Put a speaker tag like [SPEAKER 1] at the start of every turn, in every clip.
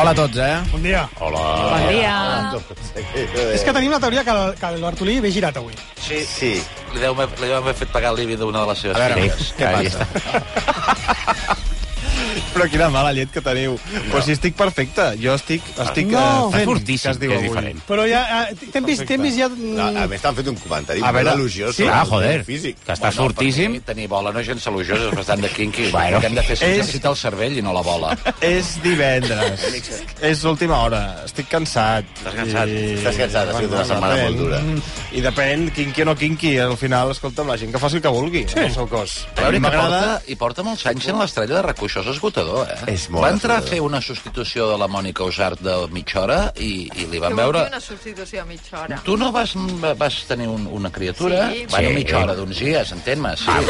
[SPEAKER 1] Hola a tots, eh?
[SPEAKER 2] Bon dia.
[SPEAKER 3] Bon
[SPEAKER 4] Eh,
[SPEAKER 5] eh,
[SPEAKER 3] dia.
[SPEAKER 2] És que tenim la teoria que, el- que l'Artolí ve girat avui.
[SPEAKER 6] Sí,
[SPEAKER 7] Sí.
[SPEAKER 6] li deu, haver- li deu haver fet pagar el límit d'una de les seves
[SPEAKER 1] A veure,
[SPEAKER 6] filles.
[SPEAKER 1] què
[SPEAKER 7] Ahí
[SPEAKER 1] passa? Però quina mala llet que teniu. No. Però si estic perfecte. Jo estic, estic
[SPEAKER 2] No.
[SPEAKER 1] eh, fent...
[SPEAKER 3] fortíssim,
[SPEAKER 1] que es diu
[SPEAKER 3] que és
[SPEAKER 1] avui.
[SPEAKER 3] diferent.
[SPEAKER 2] Però ja... eh, T'hem vist, t'hem vist ja... mm,
[SPEAKER 7] No, a més, t'han fet un comentari
[SPEAKER 1] A
[SPEAKER 7] a
[SPEAKER 1] veure,
[SPEAKER 7] molt elogiós
[SPEAKER 1] sí.
[SPEAKER 7] sobre
[SPEAKER 3] Ah,
[SPEAKER 7] el teu
[SPEAKER 3] joder,
[SPEAKER 7] físic.
[SPEAKER 3] que està sortíssim.
[SPEAKER 6] Tenir, tenir bola no és gens salugiós, és bastant de quinqui. Bueno. El que hem de fer és,
[SPEAKER 1] És-
[SPEAKER 6] és... necessitar el cervell i no la bola.
[SPEAKER 1] És divendres. és l'última hora. Estic cansat.
[SPEAKER 7] Estàs cansat. Estàs cansat, ha sigut una setmana
[SPEAKER 1] depèn.
[SPEAKER 7] molt dura.
[SPEAKER 1] I depèn, quinqui o no quinqui, al final, escolta'm, la gent que faci el que vulgui sí. amb el seu cos. A mi
[SPEAKER 6] I
[SPEAKER 1] m'agrada...
[SPEAKER 6] porta, I porta molts anys sent l'estrella de RAC1. Això és esgotador, eh?
[SPEAKER 7] És molt
[SPEAKER 6] Va entrar a
[SPEAKER 7] esgotador.
[SPEAKER 6] fer una substitució de la Mònica Usart de mitja hora i, i li van
[SPEAKER 4] Que vol
[SPEAKER 6] veure...
[SPEAKER 4] fer una substitució a mitja hora.
[SPEAKER 6] Tu no vas, vas tenir un, una criatura?
[SPEAKER 4] Sí.
[SPEAKER 6] Bueno,
[SPEAKER 3] Sí.
[SPEAKER 6] mitja hora d'uns dies, entén-me. Sí.
[SPEAKER 3] Ah,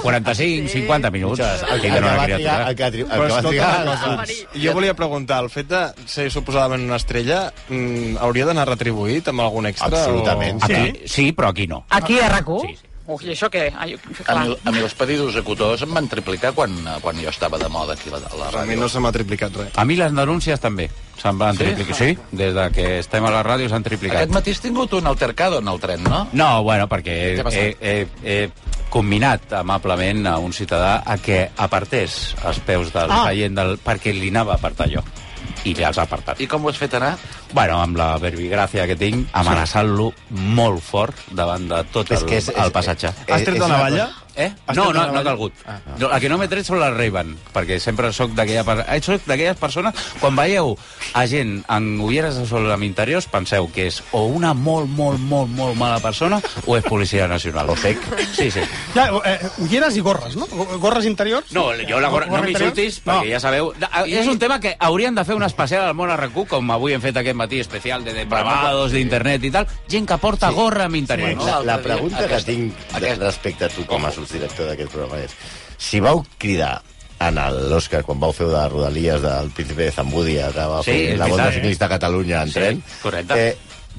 [SPEAKER 3] 40, 45, 50 minuts.
[SPEAKER 7] El que, el
[SPEAKER 3] Tindran
[SPEAKER 7] que
[SPEAKER 3] una
[SPEAKER 7] va trigar...
[SPEAKER 3] criatura.
[SPEAKER 7] El que, va tri- el
[SPEAKER 1] Però
[SPEAKER 7] que va
[SPEAKER 1] escolta
[SPEAKER 7] trigar...
[SPEAKER 1] una cosa.
[SPEAKER 4] Marí.
[SPEAKER 1] Jo volia preguntar, el fet de ser suposadament una estrella mm, hauria d'anar retribuït amb algun extra?
[SPEAKER 7] Absolutament,
[SPEAKER 1] O...
[SPEAKER 7] sí.
[SPEAKER 1] Aquí?
[SPEAKER 3] Sí, però aquí no.
[SPEAKER 8] Aquí a RAC1?
[SPEAKER 3] Sí, sí.
[SPEAKER 8] Ui, i això què? Ai,
[SPEAKER 6] A
[SPEAKER 8] clar.
[SPEAKER 6] mi, a mi els pedidos de cotós em van triplicar quan, quan jo estava de moda aquí a la, a la
[SPEAKER 1] A mi
[SPEAKER 6] ràdio.
[SPEAKER 1] no se m'ha triplicat res.
[SPEAKER 3] A mi les denúncies també se'n van
[SPEAKER 6] Sí?
[SPEAKER 3] triplicar. Sí, des de que estem a la ràdio s'han
[SPEAKER 6] Aquest
[SPEAKER 3] triplicat.
[SPEAKER 6] matí has tingut un altercado en el tren, no?
[SPEAKER 3] No, bueno, perquè
[SPEAKER 6] Què ha
[SPEAKER 3] he,
[SPEAKER 6] passat?
[SPEAKER 3] he, he, he combinat amablement a un ciutadà a que apartés els peus del ah.
[SPEAKER 2] Ah.
[SPEAKER 3] seient del... perquè li anava a apartar jo. I li els ha apartat.
[SPEAKER 6] I com ho has fet anar?
[SPEAKER 3] Bueno, amb la verbigràcia que tinc, amenaçant-lo molt fort davant de tot el,
[SPEAKER 7] que és- és-
[SPEAKER 3] el passatge.
[SPEAKER 7] Eh,
[SPEAKER 1] Has tret
[SPEAKER 7] és
[SPEAKER 1] de
[SPEAKER 7] una
[SPEAKER 1] navalla?
[SPEAKER 3] Eh?
[SPEAKER 1] Has
[SPEAKER 3] No,
[SPEAKER 1] tret
[SPEAKER 3] no,
[SPEAKER 1] la
[SPEAKER 3] no ha
[SPEAKER 1] navalla?
[SPEAKER 3] calgut. Ah, no. El que no m'he tret són les Ray-Ban, perquè sempre sóc d'aquella per... eh, sóc d'aquelles persones... Quan veieu a gent amb ulleres de sol amb interiors, penseu que és o una molt, molt, molt, molt mala persona o és policia nacional. O fec. Sí, sí.
[SPEAKER 2] Ja, eh, ulleres i gorres, no? Gorres interiors?
[SPEAKER 3] No, jo la gorra... No m'insultis,
[SPEAKER 2] No.
[SPEAKER 3] perquè ja sabeu... Ah, És un tema que haurien de fer un especial al món RQ, com avui hem fet aquest matí especial de depravados, d'internet i tal. Gent que porta gorra amb interior.
[SPEAKER 7] La,
[SPEAKER 3] No?
[SPEAKER 7] la
[SPEAKER 6] L'altre dia-
[SPEAKER 7] pregunta que
[SPEAKER 6] aquesta-
[SPEAKER 7] tinc de-
[SPEAKER 6] aquesta.
[SPEAKER 7] respecte a tu com a subdirector d'aquest programa és... Si vau cridar en el- l'Òscar, quan vau fer de Rodalies del Príncipe de Zambúdia, que va
[SPEAKER 3] Sí,
[SPEAKER 7] fer
[SPEAKER 3] és
[SPEAKER 7] la
[SPEAKER 3] veritat,
[SPEAKER 7] Volta
[SPEAKER 3] eh?
[SPEAKER 7] Ciclista a Catalunya en
[SPEAKER 3] Sí,
[SPEAKER 7] tren,
[SPEAKER 3] correcte.
[SPEAKER 7] eh,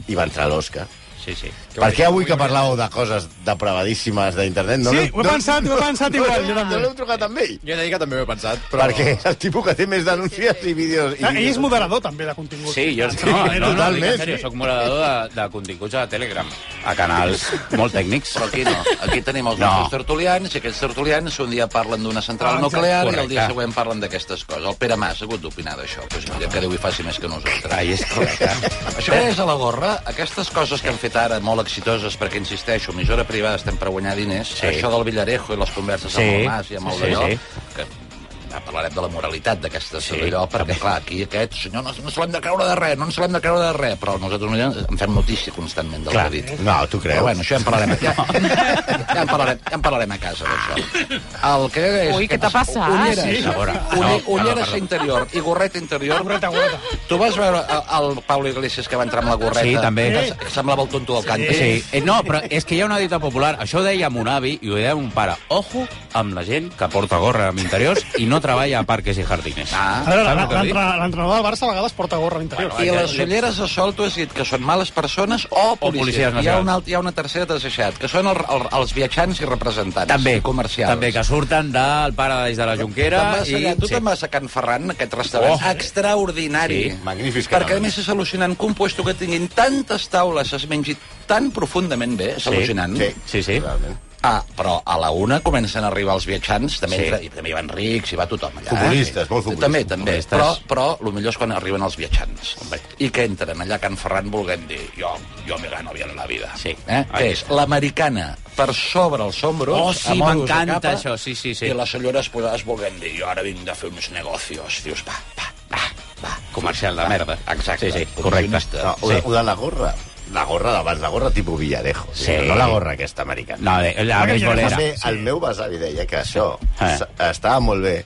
[SPEAKER 7] i va entrar l'Òscar.
[SPEAKER 3] Sí, sí.
[SPEAKER 7] Per què avui que parlàveu de coses depravadíssimes d'internet... No
[SPEAKER 2] Sí,
[SPEAKER 7] l'heu-
[SPEAKER 2] ho he pensat, ho he pensat igual, jo
[SPEAKER 7] No,
[SPEAKER 2] també.
[SPEAKER 7] no l'heu trucat amb ell?
[SPEAKER 1] Jo he de dir que també ho he pensat,
[SPEAKER 7] Perquè és el tipus que té més denúncies i vídeos... I
[SPEAKER 2] Ah, Ell
[SPEAKER 7] vídeos.
[SPEAKER 2] és moderador, també, de contingut. eh,
[SPEAKER 3] Sí, jo no, no, no, no,
[SPEAKER 7] Totalment,
[SPEAKER 3] dic en sèrio,
[SPEAKER 7] sí.
[SPEAKER 3] soc moderador de, de continguts a Telegram, a canals molt tècnics.
[SPEAKER 6] Però aquí no. Aquí tenim els
[SPEAKER 3] No.
[SPEAKER 6] nostres tertulians, i aquests tertulians un dia parlen d'una central
[SPEAKER 2] Ah, exacte.
[SPEAKER 6] nuclear i el dia
[SPEAKER 3] Correcte.
[SPEAKER 6] següent parlen d'aquestes coses. El Pere Mas ha hagut d'opinar d'això, però és millor que Déu hi faci més que nosaltres.
[SPEAKER 3] Ai, és correcte.
[SPEAKER 6] Això és a la gorra, aquestes coses que han fet ara molt exitoses, perquè, insisteixo, emissora privada estem per guanyar diners,
[SPEAKER 3] Sí.
[SPEAKER 6] sí. això del Villarejo i les converses
[SPEAKER 3] Sí.
[SPEAKER 6] amb el Mas i amb el
[SPEAKER 3] Sí,
[SPEAKER 6] sí, d'allò,
[SPEAKER 3] sí.
[SPEAKER 6] que ja parlarem de la moralitat d'aquestes
[SPEAKER 3] Sí.
[SPEAKER 6] sí. d'allò, perquè, clar, aquí aquest senyor no, no se l'hem de creure de res, no ens l'hem de creure de res, però nosaltres mira, en fem notícia constantment del
[SPEAKER 3] Clar.
[SPEAKER 6] que ha dit.
[SPEAKER 7] No, tu creus?
[SPEAKER 6] Però bueno, això ja en parlarem, ja, ja, en parlarem, ja en parlarem a casa, d'això. El que és...
[SPEAKER 8] Ui, què t'ha passat?
[SPEAKER 5] Ah,
[SPEAKER 6] Ulleres,
[SPEAKER 3] Sí.
[SPEAKER 6] a veure,
[SPEAKER 3] No,
[SPEAKER 6] ulle-
[SPEAKER 3] no,
[SPEAKER 6] ulleres
[SPEAKER 3] perdó.
[SPEAKER 6] interior i gorreta interior.
[SPEAKER 2] Gorreta, gorreta.
[SPEAKER 6] Tu vas veure el, el Pablo Iglesias que va entrar amb la gorreta?
[SPEAKER 3] Sí, també.
[SPEAKER 6] Que, que semblava el tonto del cante.
[SPEAKER 3] Sí. Eh, no, però és que hi ha una dita popular, això ho deia mon avi i ho deia mon pare. Ojo amb la gent que porta gorra amb interiors i no treballa a parques i jardines.
[SPEAKER 2] A
[SPEAKER 6] Ah.
[SPEAKER 2] veure,
[SPEAKER 3] Saps el que
[SPEAKER 2] l'entre- l'entrenador del Barça a vegades porta gorra interior.
[SPEAKER 6] I les ulleres de sol tu has dit que són males persones o policies.
[SPEAKER 3] policies
[SPEAKER 6] hi, ha
[SPEAKER 3] nacionals.
[SPEAKER 6] una, alt- hi ha una tercera que t'has deixat, que són el, el, els viatjants i representants
[SPEAKER 3] També,
[SPEAKER 6] i comercials.
[SPEAKER 3] també que surten del paradís de la Junquera.
[SPEAKER 6] Te'n vas allà,
[SPEAKER 3] i...
[SPEAKER 6] tu te'n vas a Can Ferran, aquest restaurant
[SPEAKER 3] Oh.
[SPEAKER 6] extraordinari.
[SPEAKER 3] Sí,
[SPEAKER 7] magnífics
[SPEAKER 6] Perquè, a
[SPEAKER 7] canals.
[SPEAKER 6] més, és al·lucinant que un puesto que tinguin tantes taules es mengi tan profundament bé, és
[SPEAKER 3] Sí,
[SPEAKER 6] al·lucinant.
[SPEAKER 7] Sí,
[SPEAKER 3] Sí, sí.
[SPEAKER 7] Totalment.
[SPEAKER 6] Ah, però a la una comencen a arribar els viatjants, també,
[SPEAKER 3] Sí.
[SPEAKER 6] sí. entra, i també hi van rics, hi va tothom allà. eh?
[SPEAKER 7] Futbolistes, molt futbolistes.
[SPEAKER 6] També, també.
[SPEAKER 3] Futbolistes.
[SPEAKER 6] Però, però el millor és quan arriben els viatjants. I que entren allà a Can Ferran volguem dir jo, jo me gano bien la vida.
[SPEAKER 3] Sí.
[SPEAKER 6] Eh?
[SPEAKER 3] Ai.
[SPEAKER 6] Que és l'americana per sobre els hombros.
[SPEAKER 3] Oh, sí,
[SPEAKER 6] amb ojos de
[SPEAKER 3] m'encanta
[SPEAKER 6] capa,
[SPEAKER 3] això, sí, sí, sí.
[SPEAKER 6] I les senyores pues, es volguem dir jo ara vinc de fer uns negocios. Dius, va, va, va, va.
[SPEAKER 3] Comercial de merda.
[SPEAKER 6] Exacte.
[SPEAKER 3] Sí, sí, correcte.
[SPEAKER 7] No, o,
[SPEAKER 3] Eh,
[SPEAKER 7] de,
[SPEAKER 3] Sí.
[SPEAKER 7] o de la gorra. La gorra d'abans, la gorra tipus Villarejo.
[SPEAKER 3] Sí.
[SPEAKER 7] No la gorra aquesta americana.
[SPEAKER 3] No, de, la beisbolera.
[SPEAKER 7] També, el meu besavi deia que això
[SPEAKER 3] Eh.
[SPEAKER 7] s- estava molt bé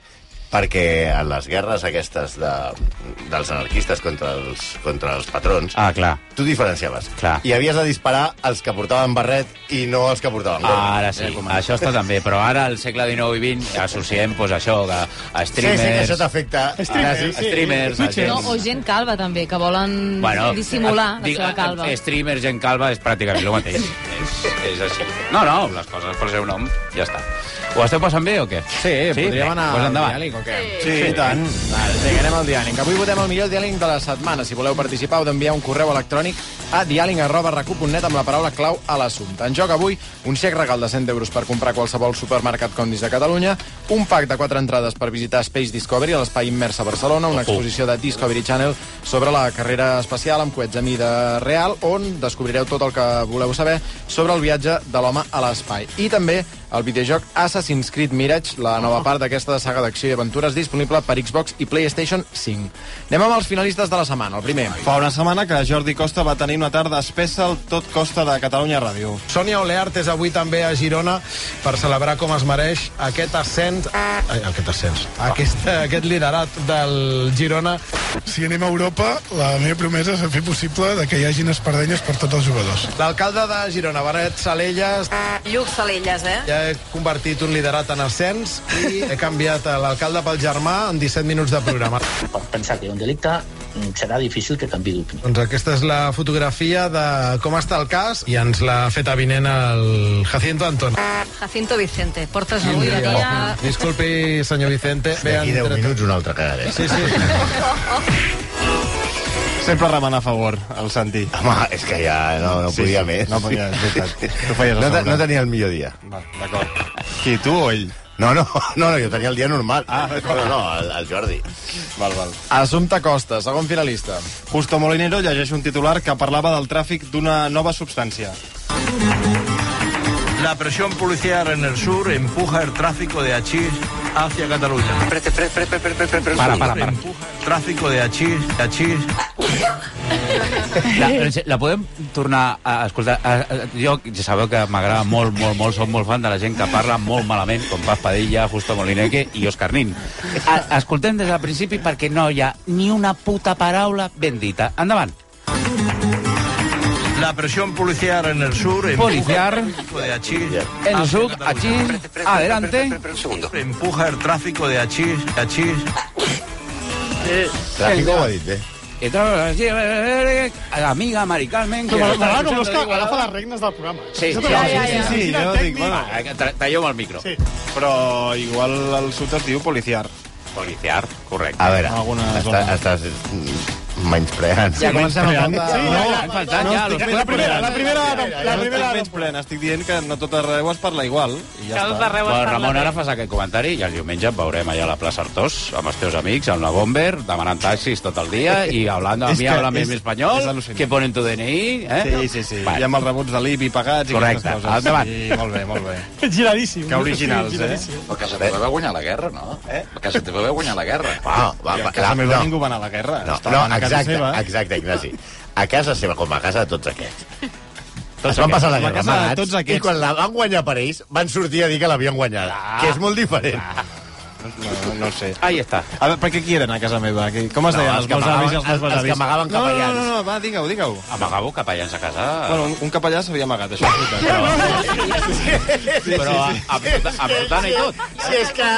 [SPEAKER 7] perquè en les guerres aquestes de, dels anarquistes contra els, contra els patrons,
[SPEAKER 3] Ah, clar.
[SPEAKER 7] tu diferenciaves.
[SPEAKER 3] Clar.
[SPEAKER 7] I havies de disparar els que portaven barret i no els que portaven gorra.
[SPEAKER 3] Ara sí, això està també, però ara al segle XIX i XX associem pues, això que a
[SPEAKER 7] sí, sí,
[SPEAKER 3] streamers...
[SPEAKER 7] que això t'afecta.
[SPEAKER 2] Streamers,
[SPEAKER 7] Ara
[SPEAKER 2] sí.
[SPEAKER 3] streamers, la gent-
[SPEAKER 9] No, o gent calva, també, que volen dissimular la
[SPEAKER 3] dic- eh,
[SPEAKER 9] seva calva.
[SPEAKER 3] Streamer, gent calva, és pràcticament el mateix. és, és així. No, no, les coses pel seu nom, ja està. Ho esteu passant bé o què?
[SPEAKER 4] Sí, sí podríem anar
[SPEAKER 3] pues
[SPEAKER 4] al
[SPEAKER 3] endavant.
[SPEAKER 4] diàleg o què?
[SPEAKER 7] Sí, i tant.
[SPEAKER 4] Val, vinga, anem al diàleg. Avui votem el millor diàleg de la setmana. Si voleu participar, heu d'enviar un correu electrònic a diàleg.recu.net amb la paraula clau a l'assumpte. En joc avui, un xec regal de 100 euros per comprar a qualsevol supermercat Condis de Catalunya, un pack de 4 entrades per visitar Space Discovery a l'Espai Immers a Barcelona, una exposició de Discovery Channel sobre la carrera espacial amb coets a mida real, on descobrireu tot el que voleu saber sobre el viatge de l'home a l'espai. I també el videojoc Assassin's Creed Mirage, la nova
[SPEAKER 1] Ah.
[SPEAKER 4] part d'aquesta saga d'acció i aventures disponible per Xbox i PlayStation 5. Anem amb els finalistes de la setmana. El primer,
[SPEAKER 1] Fa una setmana que Jordi Costa va tenir una tarda espessa al Tot Costa de Catalunya Ràdio.
[SPEAKER 8] Sònia Oleart és avui també a Girona per celebrar com es mereix aquest ascens... Ai, aquest ascens. Aquest, aquest liderat del Girona.
[SPEAKER 10] Si anem a Europa, la meva promesa és fer possible de que hi hagin espardenyes per tots els jugadors.
[SPEAKER 8] L'alcalde de Girona, Benet Salelles,
[SPEAKER 11] Lluc Salelles, eh?
[SPEAKER 8] ja he convertit un liderat en ascens i he canviat a l'alcalde pel germà en 17 minuts de programa.
[SPEAKER 12] Pot pensar que hi ha un delicte, mm, serà difícil que canvi d'opinió.
[SPEAKER 8] Doncs aquesta és la fotografia de com està el cas i ens l'ha fet avinent el Jacinto Antón.
[SPEAKER 11] Jacinto Vicente, portes avui la
[SPEAKER 8] Oh,
[SPEAKER 11] dia...
[SPEAKER 8] Disculpi, senyor Vicente. Bé,
[SPEAKER 7] D'aquí 10 minuts una altra eh? cagada.
[SPEAKER 8] Sí, sí.
[SPEAKER 1] Sempre remena a favor, el Santi.
[SPEAKER 7] Home, és que ja no, no
[SPEAKER 1] Sí,
[SPEAKER 7] podia
[SPEAKER 1] sí,
[SPEAKER 7] més.
[SPEAKER 1] no podia, és veritat. Tu feies
[SPEAKER 7] no, te-
[SPEAKER 1] assegurar.
[SPEAKER 7] no tenia el millor dia.
[SPEAKER 1] Va, d'acord. Qui, tu o ell?
[SPEAKER 7] No, no, no, no jo tenia el dia normal. Ah, no, no, el, el Jordi.
[SPEAKER 1] Val, val.
[SPEAKER 4] Assumpta Costa, segon finalista.
[SPEAKER 1] Justo Molinero llegeix un titular que parlava del tràfic d'una nova substància.
[SPEAKER 13] La presión policial en el sur empuja el tráfico de hachís hacia Cataluña.
[SPEAKER 3] Para, para, para.
[SPEAKER 13] Empuja el tráfico de hachís, hachís.
[SPEAKER 3] La, la podem tornar a escoltar? A, a, jo ja sabeu que m'agrada molt, molt, molt, soc molt fan de la gent que parla molt malament, com Paz Padilla, Justo Molineque i Òscar Nin. A, escoltem des del principi perquè no hi ha ni una puta paraula ben dita. Endavant.
[SPEAKER 13] La presión policial en el sur empuja
[SPEAKER 3] Policial.
[SPEAKER 13] el tráfico de hachís.
[SPEAKER 3] El suc, aquí, adelante.
[SPEAKER 13] Empuja el tráfico de hachís, hachís.
[SPEAKER 7] Tràfico ho ha
[SPEAKER 1] eh?
[SPEAKER 7] dit, bé.
[SPEAKER 3] Amiga Mari Carmen... que-
[SPEAKER 2] M'agrada com l'Òscar agafa les regnes del programa.
[SPEAKER 3] Sí, sí,
[SPEAKER 2] Això també-
[SPEAKER 3] sí,
[SPEAKER 1] sí, sí,
[SPEAKER 2] Quina
[SPEAKER 1] jo
[SPEAKER 2] tècnica.
[SPEAKER 1] dic, bueno,
[SPEAKER 3] Tra- Talleu-me el micro.
[SPEAKER 2] Sí.
[SPEAKER 1] però igual el sud es diu policiar.
[SPEAKER 3] Policiar, correcte.
[SPEAKER 7] A veure,
[SPEAKER 1] Alguna
[SPEAKER 7] està,
[SPEAKER 1] zona.
[SPEAKER 7] estàs menyspreant.
[SPEAKER 4] Ja comencem amb el de...
[SPEAKER 2] Sí, ja, ja.
[SPEAKER 3] Han faltat ja los
[SPEAKER 2] La primera, la primera, la primera, la
[SPEAKER 1] La primera
[SPEAKER 2] primera.
[SPEAKER 1] menys plena, estic dient que no tot arreu es parla igual. I ja està.
[SPEAKER 3] Bueno, Ramon, eh? ara fas aquest comentari i el diumenge et veurem allà a la plaça Artós amb els teus amics, amb la Bomber, demanant taxis tot el dia i hablando a
[SPEAKER 1] És
[SPEAKER 3] mi,
[SPEAKER 1] que
[SPEAKER 3] hablando en
[SPEAKER 1] és- és
[SPEAKER 3] espanyol,
[SPEAKER 1] al·lucinant.
[SPEAKER 3] que ponen tu DNI, eh?
[SPEAKER 1] Sí, sí, sí.
[SPEAKER 3] Vale.
[SPEAKER 1] I amb els rebuts de l'IBI pagats i
[SPEAKER 3] Correcte.
[SPEAKER 1] aquestes coses.
[SPEAKER 3] Endavant.
[SPEAKER 1] Sí, molt bé, molt bé.
[SPEAKER 2] Giradíssim.
[SPEAKER 1] Que originals, eh?
[SPEAKER 6] La casa teva va guanyar la guerra, no? Eh? La casa teva va guanyar la guerra.
[SPEAKER 7] Va, va,
[SPEAKER 1] I
[SPEAKER 7] va,
[SPEAKER 1] a casa
[SPEAKER 7] la-
[SPEAKER 1] meva
[SPEAKER 7] no.
[SPEAKER 1] ningú va anar a la guerra.
[SPEAKER 7] No,
[SPEAKER 1] Estava
[SPEAKER 7] no,
[SPEAKER 1] a casa
[SPEAKER 7] exacte,
[SPEAKER 1] seva.
[SPEAKER 7] exacte, Ignasi. A casa seva, com a casa de tots aquests. Tots es
[SPEAKER 1] aquests.
[SPEAKER 7] van passar la
[SPEAKER 1] Com a
[SPEAKER 7] guerra
[SPEAKER 1] casa de
[SPEAKER 7] amagats,
[SPEAKER 1] tots aquests. Ah.
[SPEAKER 7] i quan la van guanyar per ells, van sortir a dir que l'havien guanyada, que és molt diferent.
[SPEAKER 1] No, no sé.
[SPEAKER 3] Ahí està.
[SPEAKER 1] A veure, per què qui eren a casa meva? Qui- Com es
[SPEAKER 7] No,
[SPEAKER 1] deien
[SPEAKER 7] els
[SPEAKER 1] els
[SPEAKER 7] que
[SPEAKER 1] meus
[SPEAKER 7] amagaven-
[SPEAKER 1] avis i els meus
[SPEAKER 7] els- els
[SPEAKER 1] besavis?
[SPEAKER 7] que amagaven
[SPEAKER 1] No, no,
[SPEAKER 7] capellans. Ah.
[SPEAKER 1] No, no, no, va, digue-ho, digue-ho.
[SPEAKER 3] Amagavo capellans a casa.
[SPEAKER 1] Bueno, un- un capellà s'havia amagat, això és veritat.
[SPEAKER 3] però aporta- aportant i tot.
[SPEAKER 7] Si és que,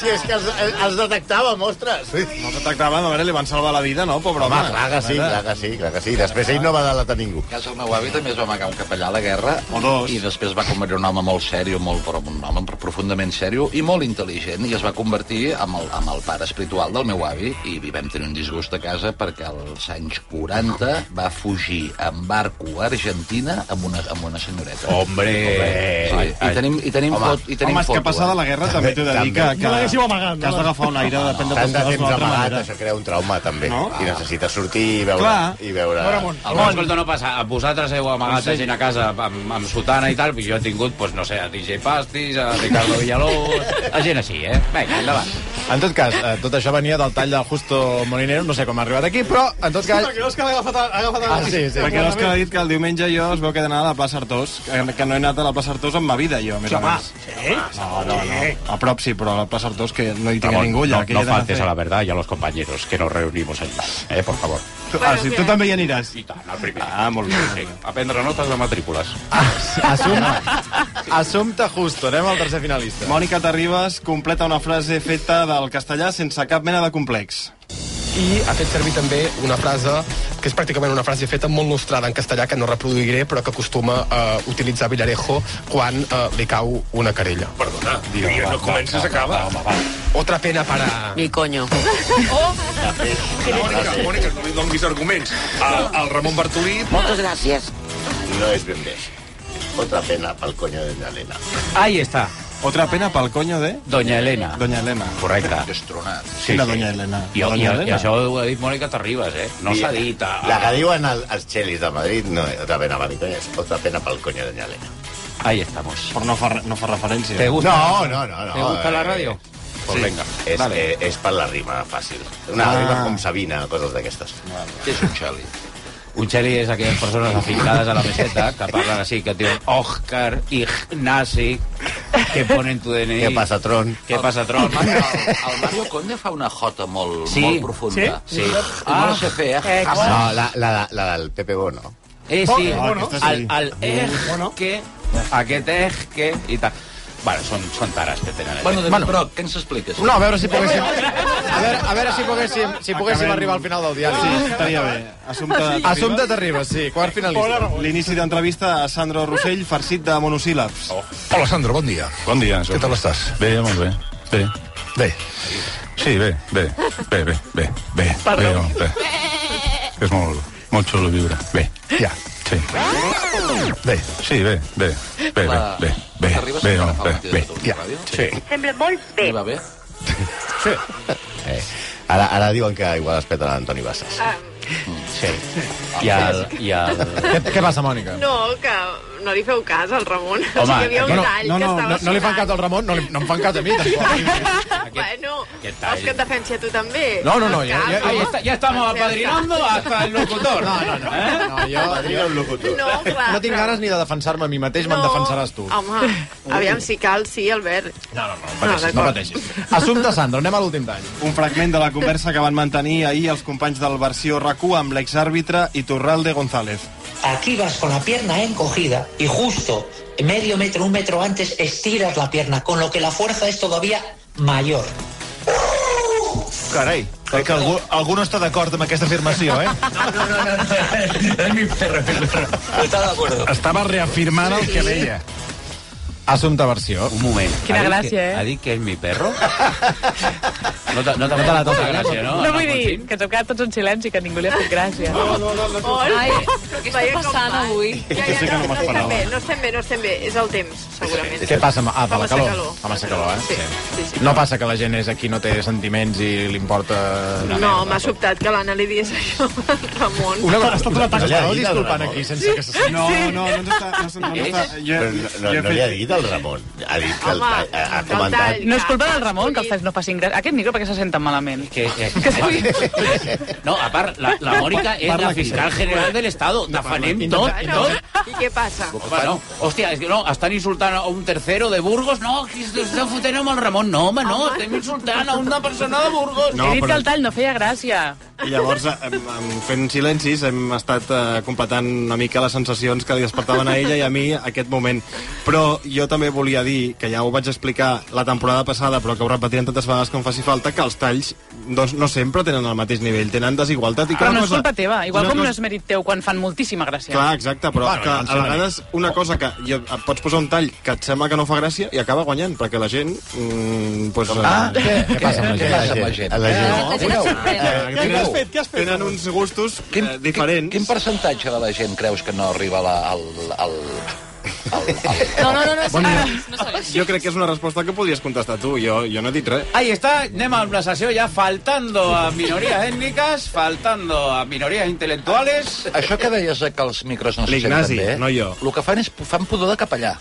[SPEAKER 7] si és que els, els detectàvem, ostres.
[SPEAKER 1] No se tractava, a veure, li van salvar la vida, no, pobre
[SPEAKER 7] Home,
[SPEAKER 1] home?
[SPEAKER 7] clar que sí, clar que sí, clar que sí. Després ell no va delatar ningú.
[SPEAKER 6] A casa el meu avi també es va amagar un capellà a la guerra
[SPEAKER 1] O dos.
[SPEAKER 6] i després va convertir un home molt sèrio, molt, però un home profundament sèrio i molt intel·ligent i es va convertir amb el, amb el pare espiritual del meu avi i hi vam tenir un disgust a casa perquè als anys 40 va fugir en barco a Argentina amb una, amb una senyoreta.
[SPEAKER 3] Hombre. eh,
[SPEAKER 6] Sí, i tenim, i tenim,
[SPEAKER 7] Home,
[SPEAKER 6] fot, i tenim
[SPEAKER 1] Home, és que
[SPEAKER 6] foto,
[SPEAKER 1] passada
[SPEAKER 6] eh?
[SPEAKER 1] la guerra també t'he de dir
[SPEAKER 7] També,
[SPEAKER 1] que,
[SPEAKER 7] també.
[SPEAKER 1] que,
[SPEAKER 2] No l'haguéssiu amagat,
[SPEAKER 1] que has
[SPEAKER 2] no?
[SPEAKER 1] d'agafar un aire de prendre
[SPEAKER 7] Tant de
[SPEAKER 1] postures
[SPEAKER 7] temps
[SPEAKER 1] d'una altra
[SPEAKER 7] amagat,
[SPEAKER 1] manera.
[SPEAKER 7] això crea un trauma, també.
[SPEAKER 1] No?
[SPEAKER 7] I necessita sortir i veure...
[SPEAKER 1] Clar.
[SPEAKER 7] I veure...
[SPEAKER 3] Algú, escolta, no passa. Vosaltres heu amagat la gent a casa amb, amb sotana i tal, però jo he tingut, doncs, no sé, a DJ Pastis, a Ricardo Villalobos, a gent així, eh? Vinga, endavant.
[SPEAKER 4] En tot cas, eh, tot això venia del tall del Justo Molinero, no sé com ha arribat aquí, però en tot cas...
[SPEAKER 2] Perquè l'Òscar ha agafat, ha agafat
[SPEAKER 4] Ah, sí, sí.
[SPEAKER 1] Perquè l'Òscar ha dit que el diumenge jo es veu que he d'anar a la plaça Artós, que que no he anat a la plaça Artós en ma vida, jo, a més o menys. No, no, no. A prop sí, però a la plaça Artós que no hi tinc a
[SPEAKER 3] Ramon,
[SPEAKER 1] ningú allà.
[SPEAKER 3] no,
[SPEAKER 1] que
[SPEAKER 3] no
[SPEAKER 1] hi he d'anar
[SPEAKER 3] faltes
[SPEAKER 1] fer.
[SPEAKER 3] a la verdad y a los compañeros que nos reunimos allí, eh, por favor.
[SPEAKER 1] Ah, sí, tu també hi aniràs.
[SPEAKER 3] I tant, el primer.
[SPEAKER 1] Ah, molt bé. Ah,
[SPEAKER 3] Sí, a prendre notes de matrícules.
[SPEAKER 4] Assumpta, assumpta Justo, anem al tercer finalista.
[SPEAKER 1] Mònica Terribas completa una frase feta del castellà sense cap mena de complex.
[SPEAKER 14] i ha fet servir també una frase que és pràcticament una frase feta molt nostrada en castellà que no reproduiré però que acostuma a utilitzar Villarejo quan eh, li cau una querella.
[SPEAKER 15] Perdona, digue'm, no comences, acaba. Va, va, va.
[SPEAKER 14] Otra pena para...
[SPEAKER 11] Mi coño.
[SPEAKER 15] Oh! Mònica, Mònica, no li donguis arguments. El, el Ramon Bartolí...
[SPEAKER 7] Moltes gràcies. No és ben bé. Otra pena pel coño de la Elena.
[SPEAKER 3] Ahí está.
[SPEAKER 1] Otra pena pel conyo de...
[SPEAKER 3] Doña Elena.
[SPEAKER 1] Doña Elena.
[SPEAKER 3] Correcte.
[SPEAKER 6] Destronat.
[SPEAKER 1] Sí, la Doña Elena.
[SPEAKER 3] I,
[SPEAKER 1] La
[SPEAKER 3] i,
[SPEAKER 1] Doña
[SPEAKER 3] i
[SPEAKER 1] Elena.
[SPEAKER 3] això ho ha dit Mònica Terribas, eh? No s'ha dit... A...
[SPEAKER 7] La que diuen al, als xelis de Madrid no és otra pena pel coño, és otra pena pel coño de Elena.
[SPEAKER 3] Ahí estamos.
[SPEAKER 1] Però no fa, re- no fa referència.
[SPEAKER 7] ¿Te gusta? No, no, no, no. Eh,
[SPEAKER 3] ¿Te gusta la radio?
[SPEAKER 7] Pues
[SPEAKER 3] Sí.
[SPEAKER 7] venga. És,
[SPEAKER 3] Vale.
[SPEAKER 7] eh, és per la rima fàcil. Una
[SPEAKER 3] Ah.
[SPEAKER 7] rima com Sabina, coses d'aquestes.
[SPEAKER 6] Què és un xali?
[SPEAKER 3] Un xeli és aquelles persones afincades a la meseta que parlen així, que et diuen Òscar, Ignasi, que ponen tu DNI...
[SPEAKER 7] Què passa, Tron?
[SPEAKER 3] Què passa, Tron?
[SPEAKER 6] El Mario Conde fa una jota molt,
[SPEAKER 3] Sí.
[SPEAKER 6] molt profunda. sí.
[SPEAKER 3] Sí? Sí.
[SPEAKER 6] Ah, no sé fer, eh?
[SPEAKER 7] No, la, la, la del Pepe Bono.
[SPEAKER 3] Eh,
[SPEAKER 7] Oh,
[SPEAKER 3] sí,
[SPEAKER 7] oh, no.
[SPEAKER 3] el, el eh, que, aquest eh, que, i tal. Bueno, són, són tares que tenen.
[SPEAKER 6] Bueno,
[SPEAKER 3] de
[SPEAKER 6] David Broc, què ens expliques?
[SPEAKER 4] No, a veure si poguéssim... A veure, a veure si poguéssim, si poguéssim
[SPEAKER 1] Acabem.
[SPEAKER 4] arribar al final del diari.
[SPEAKER 1] Sí, estaria bé. Assumpte Terribas.
[SPEAKER 4] Assumpte Terribas, sí, quart finalista.
[SPEAKER 1] L'inici d'entrevista a Sandro Rossell farcit de monosíl·labs. Oh.
[SPEAKER 13] Hola, Sandro, bon dia. Bon dia. Què tal estàs? Bé, molt bé. Bé. Bé. Sí, bé, bé, bé, bé, bé, bé. Perdó. Bé, bé. És molt, molt xulo viure. Bé, ja, sí. Bé, sí, bé, bé, bé, bé, bé, bé,
[SPEAKER 6] Arribes
[SPEAKER 13] bé,
[SPEAKER 6] encara
[SPEAKER 13] home,
[SPEAKER 6] fa
[SPEAKER 13] bé,
[SPEAKER 6] un
[SPEAKER 13] bé,
[SPEAKER 6] tio
[SPEAKER 13] ja, sí.
[SPEAKER 16] Sembla molt bé.
[SPEAKER 6] Va bé?
[SPEAKER 7] Sí. Eh, ara, ara diuen que igual es peta l'Antoni Bassas.
[SPEAKER 16] Ah,
[SPEAKER 7] Sí.
[SPEAKER 3] I el... I el...
[SPEAKER 4] Què, què passa, Mònica?
[SPEAKER 16] no, que no li feu cas al Ramon. Home, o sigui, hi havia un
[SPEAKER 4] no,
[SPEAKER 16] tall
[SPEAKER 4] no,
[SPEAKER 16] que
[SPEAKER 4] no,
[SPEAKER 16] estava...
[SPEAKER 4] no, no li fan cas al Ramon, no, li, no em fan cas a mi, tampoc.
[SPEAKER 16] Bueno,
[SPEAKER 4] Aquest tall.
[SPEAKER 16] vols que et defensi a tu també?
[SPEAKER 4] No, no, no, ja-
[SPEAKER 16] Fas
[SPEAKER 4] ja-
[SPEAKER 16] cas,
[SPEAKER 4] ahí
[SPEAKER 16] no?
[SPEAKER 4] está-
[SPEAKER 3] ya estamos
[SPEAKER 16] Fas cas.
[SPEAKER 3] apadrinando hasta el locutor. ¿Eh?
[SPEAKER 4] No, no, no. no jo,
[SPEAKER 7] Padrina un locutor.
[SPEAKER 16] No, clar,
[SPEAKER 4] no tinc
[SPEAKER 16] però-
[SPEAKER 4] ganes ni de defensar-me a mi mateix, me'n defensaràs tu.
[SPEAKER 16] Home, aviam si cal, sí, Albert.
[SPEAKER 4] No, no, no,
[SPEAKER 16] pateixis, no
[SPEAKER 4] pateixis. Assumpte Sandro, anem a l'últim tall.
[SPEAKER 1] Un fragment de la conversa que van mantenir ahir els companys del Versió RAC1 amb l'exàrbitre Iturralde González.
[SPEAKER 17] Aquí vas con la pierna encogida y justo medio metro, un metro antes estiras la pierna, con lo que la fuerza es todavía mayor.
[SPEAKER 8] Carai, crec que algú, algú no està d'acord amb aquesta afirmació, eh?
[SPEAKER 17] Es mi perro, Está de acuerdo.
[SPEAKER 8] Estava reafirmant el que deia.
[SPEAKER 4] Assumpte versió.
[SPEAKER 3] Un moment.
[SPEAKER 5] Quina
[SPEAKER 3] Ha dit
[SPEAKER 5] gràcia,
[SPEAKER 3] que,
[SPEAKER 5] eh?
[SPEAKER 3] Ha dit que és mi perro? No te, no te, no te la toca, gràcia, no?
[SPEAKER 5] No vull dir que ens hem quedat tots en silenci, que ningú li ha fet gràcia. No, no, no. no,
[SPEAKER 9] Ai,
[SPEAKER 16] però què està passant avui? Ja,
[SPEAKER 4] Jo
[SPEAKER 16] ja,
[SPEAKER 4] sé que no
[SPEAKER 16] no, no,
[SPEAKER 4] m'esperava.
[SPEAKER 16] estem bé, no estem bé, no estem bé. És el temps, segurament.
[SPEAKER 4] Què passa? Ah, per
[SPEAKER 16] Fa
[SPEAKER 4] la
[SPEAKER 16] massa
[SPEAKER 4] calor.
[SPEAKER 16] calor.
[SPEAKER 4] Fa massa calor, eh?
[SPEAKER 16] Sí, sí, sí.
[SPEAKER 4] No passa que la gent és aquí, no té sentiments i li importa... una
[SPEAKER 16] No,
[SPEAKER 4] merda.
[SPEAKER 16] m'ha sobtat que l'Anna li digués això al Ramon.
[SPEAKER 4] Una cosa, estat una
[SPEAKER 16] Una
[SPEAKER 4] taca,
[SPEAKER 7] No li
[SPEAKER 4] estàveu
[SPEAKER 7] ha dit el
[SPEAKER 4] disculpant
[SPEAKER 7] Ramon.
[SPEAKER 4] aquí sense que se...
[SPEAKER 1] No, no, no ens està... No, no, no, està, jo,
[SPEAKER 7] Però no, no, no li ha dit el Ramon. Ha dit que el,
[SPEAKER 5] Home,
[SPEAKER 7] ha, ha comentat...
[SPEAKER 5] No és culpa del Ramon que els talls no facin gràcia. Aquest micro perquè se senten malament.
[SPEAKER 3] Que, que, no, a part, la, la Mònica és la fiscal general de l'Estado. Tafanem tot, tot.
[SPEAKER 16] I què passa?
[SPEAKER 3] Home, no. Hòstia, és que no, estan insultant a un tercero de Burgos. No, que esteu fotent amb el Ramon. No, home, no, estem insultant a una persona de Burgos.
[SPEAKER 1] No,
[SPEAKER 5] He dit
[SPEAKER 1] però-
[SPEAKER 5] que el tall no feia gràcia.
[SPEAKER 1] I llavors, em, em, fent silencis, hem estat eh, completant una mica les sensacions que li despertaven a ella i a mi aquest moment. Però jo també volia dir, que ja ho vaig explicar la temporada passada, però que ho repetirem tantes vegades com faci falta, que els talls doncs, no sempre tenen el mateix nivell, tenen desigualtat. I que
[SPEAKER 5] Però
[SPEAKER 1] una
[SPEAKER 5] no és
[SPEAKER 1] cosa-
[SPEAKER 5] culpa teva, igual
[SPEAKER 1] una
[SPEAKER 5] com no
[SPEAKER 1] cosa-
[SPEAKER 5] és mèrit teu quan fan moltíssima gràcia.
[SPEAKER 1] Clar, exacte, però
[SPEAKER 5] Bueno,
[SPEAKER 1] bueno, que
[SPEAKER 5] ja en sé
[SPEAKER 1] a
[SPEAKER 5] una
[SPEAKER 1] vegades una cosa que jo, et pots posar un tall que et sembla que no fa gràcia i acaba guanyant, perquè la gent... Mm, pues,
[SPEAKER 7] Ah, què? Què passa amb la gent? A la gent.
[SPEAKER 6] No, mireu,
[SPEAKER 1] Què has fet? Què has fet? Tenen uns gustos eh,
[SPEAKER 6] quin, diferents. Quin, quin percentatge de la gent creus que no arriba la, al, al,
[SPEAKER 9] No, no, no, no,
[SPEAKER 1] Bon dia.
[SPEAKER 9] no, no, no
[SPEAKER 1] Jo crec que és una resposta que podries contestar tu, jo, jo no he dit res.
[SPEAKER 3] Ahí está, anem amb la sessió ja faltando a minorías étnicas, faltando a minorías intelectuales.
[SPEAKER 6] Això que deies que els micros no se senten
[SPEAKER 1] L'Ignasi,
[SPEAKER 6] bé,
[SPEAKER 1] no jo.
[SPEAKER 6] el que fan és fan pudor de capellà.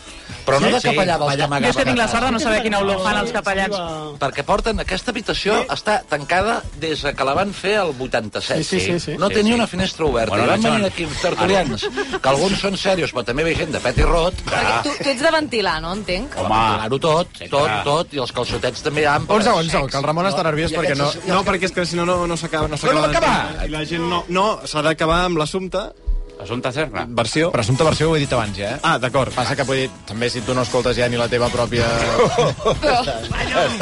[SPEAKER 6] Però no
[SPEAKER 5] Sí,
[SPEAKER 6] de
[SPEAKER 5] sí,
[SPEAKER 6] capellà dels
[SPEAKER 5] capellà.
[SPEAKER 6] que
[SPEAKER 5] Jo
[SPEAKER 6] amagaven.
[SPEAKER 5] és que tinc la sort de no saber quina olor fan els capellans.
[SPEAKER 6] Perquè porten... Aquesta habitació està tancada des de que la van fer el 87.
[SPEAKER 5] Sí, sí, sí, sí.
[SPEAKER 6] No
[SPEAKER 5] Sí,
[SPEAKER 6] tenia
[SPEAKER 5] sí.
[SPEAKER 6] una finestra oberta.
[SPEAKER 3] Bueno,
[SPEAKER 6] Bueno, van
[SPEAKER 3] John.
[SPEAKER 6] venir aquí tertulians, que alguns són serios, però també ve gent de pet i rot.
[SPEAKER 9] Tu, tu ets de ventilar, no? Entenc.
[SPEAKER 6] Home, claro, tot, tot, tot, i els calçotets també amples.
[SPEAKER 4] Un segon, un segon, que el Ramon està nerviós perquè no...
[SPEAKER 1] No, perquè és que si no, no, no s'acaba. No,
[SPEAKER 4] No,
[SPEAKER 1] s'acaba
[SPEAKER 4] no va
[SPEAKER 1] d'entendre.
[SPEAKER 4] acabar!
[SPEAKER 1] I la gent no... No, s'ha d'acabar amb l'assumpte
[SPEAKER 3] Assumpte Serna.
[SPEAKER 4] Versió. Presumpta versió ho he dit abans, ja. Eh?
[SPEAKER 1] Ah, d'acord.
[SPEAKER 4] Passa que vull dir, també si tu no escoltes ja ni la teva pròpia...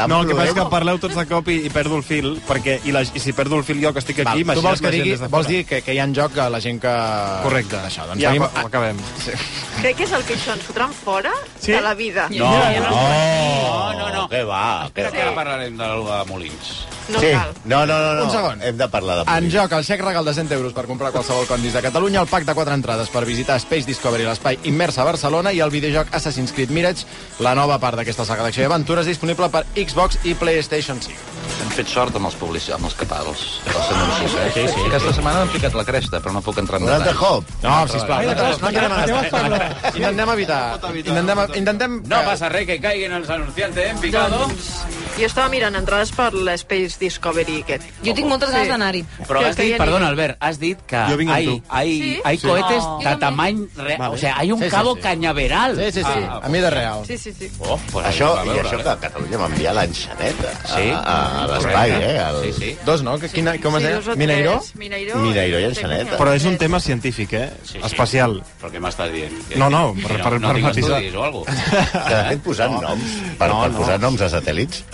[SPEAKER 1] No, el que passa és que parleu tots de cop i, i perdo el fil, perquè i, la, i si perdo el fil jo que estic aquí,
[SPEAKER 4] tu
[SPEAKER 1] imagina't
[SPEAKER 4] vols, que
[SPEAKER 1] la gent
[SPEAKER 4] digui,
[SPEAKER 1] des de
[SPEAKER 4] vols
[SPEAKER 1] fora.
[SPEAKER 4] dir que, que hi ha en joc a la gent que...
[SPEAKER 1] Correcte.
[SPEAKER 4] Això, doncs
[SPEAKER 1] Ja,
[SPEAKER 4] seguim...
[SPEAKER 1] ho- ho acabem.
[SPEAKER 4] Sí.
[SPEAKER 16] Crec que és el que això ens fotran fora
[SPEAKER 4] Sí?
[SPEAKER 16] de la vida.
[SPEAKER 3] No, no, no, no, no.
[SPEAKER 7] Què va? Què
[SPEAKER 3] Crec que ara parlarem de, de Molins.
[SPEAKER 16] No
[SPEAKER 7] sí.
[SPEAKER 16] cal.
[SPEAKER 7] No, no, no, no.
[SPEAKER 4] Un segon.
[SPEAKER 7] Hem de parlar de...
[SPEAKER 4] En joc, el xec regal de 100 euros per comprar qualsevol condis de Catalunya, el pack de 4 entrades per visitar Space Discovery, l'espai immers a Barcelona, i el videojoc Assassin's Creed Mirage, la nova part d'aquesta saga d'acció i aventures disponible per Xbox i PlayStation 5.
[SPEAKER 6] Hem fet sort amb els publicis, amb els capals. Que els anuncis, eh? sí, sí, Aquesta setmana m'han picat la cresta, però no puc entrar en
[SPEAKER 7] Un altre
[SPEAKER 6] detall.
[SPEAKER 7] hop?
[SPEAKER 4] No, sisplau, no, no, no, no, no, no, Intentem evitar... Intentem... intentem
[SPEAKER 3] No passa res, que caiguin els anunciantes, eh? hem Picado.
[SPEAKER 16] Doncs, jo estava mirant entrades per l'Space Discovery aquest.
[SPEAKER 9] Jo tinc moltes ganes d'anar-hi.
[SPEAKER 3] Però
[SPEAKER 16] Que
[SPEAKER 3] has dit,
[SPEAKER 16] feien-
[SPEAKER 3] perdona, Albert, has dit que
[SPEAKER 1] Jo vinc amb
[SPEAKER 3] hay,
[SPEAKER 1] tu.
[SPEAKER 3] hay,
[SPEAKER 16] Sí?
[SPEAKER 3] hay
[SPEAKER 16] Sí.
[SPEAKER 3] cohetes
[SPEAKER 16] No.
[SPEAKER 3] de tamaño real. O sea, hay un
[SPEAKER 4] Sí, sí,
[SPEAKER 3] cabo
[SPEAKER 4] sí.
[SPEAKER 3] cañaveral.
[SPEAKER 4] Sí, sí, sí,
[SPEAKER 3] Ah,
[SPEAKER 4] a mi de real.
[SPEAKER 16] Sí, sí, sí.
[SPEAKER 3] Oh, pues
[SPEAKER 7] Això,
[SPEAKER 3] ahí va,
[SPEAKER 7] I
[SPEAKER 3] veure,
[SPEAKER 7] això
[SPEAKER 3] eh?
[SPEAKER 7] que Catalunya va enviar l'enxaneta a,
[SPEAKER 3] Sí.
[SPEAKER 7] a, a l'espai,
[SPEAKER 3] Correcte.
[SPEAKER 7] eh? Al...
[SPEAKER 3] Sí, sí.
[SPEAKER 4] Dos, no? Que, quina, com es
[SPEAKER 16] Sí,
[SPEAKER 4] deia?
[SPEAKER 16] dos o tres.
[SPEAKER 4] Mineiro?
[SPEAKER 16] Mineiro.
[SPEAKER 7] Mineiro i
[SPEAKER 16] Enxaneta.
[SPEAKER 7] enxaneta.
[SPEAKER 1] Però és un tema científic, eh? Sí, sí. Espacial.
[SPEAKER 3] Però què m'estàs dient? Que-
[SPEAKER 1] No, no, per-
[SPEAKER 3] que
[SPEAKER 1] per-
[SPEAKER 3] no
[SPEAKER 1] per
[SPEAKER 3] tinc
[SPEAKER 1] matisar.
[SPEAKER 3] estudis o algo.
[SPEAKER 7] Que, de fet, posant no. noms, per, no, per posar noms a satèl·lits,